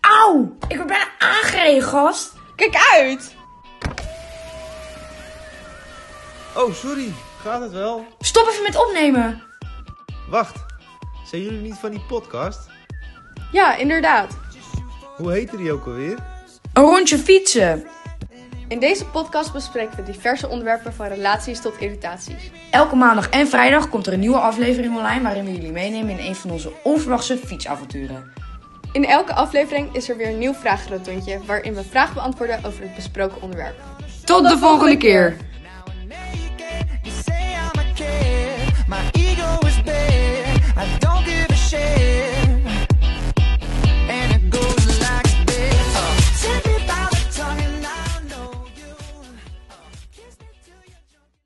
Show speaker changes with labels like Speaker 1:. Speaker 1: Wow, ik ben bijna aangereden, gast.
Speaker 2: Kijk uit!
Speaker 3: Oh, sorry. Gaat het wel?
Speaker 1: Stop even met opnemen.
Speaker 3: Wacht. Zijn jullie niet van die podcast?
Speaker 2: Ja, inderdaad.
Speaker 3: Hoe heette die ook alweer?
Speaker 1: Een rondje fietsen.
Speaker 2: In deze podcast bespreken we diverse onderwerpen van relaties tot irritaties.
Speaker 1: Elke maandag en vrijdag komt er een nieuwe aflevering online waarin we jullie meenemen in een van onze onverwachte fietsavonturen.
Speaker 2: In elke aflevering is er weer een nieuw vragenrotondje waarin we vragen beantwoorden over het besproken onderwerp.
Speaker 1: Tot de volgende keer.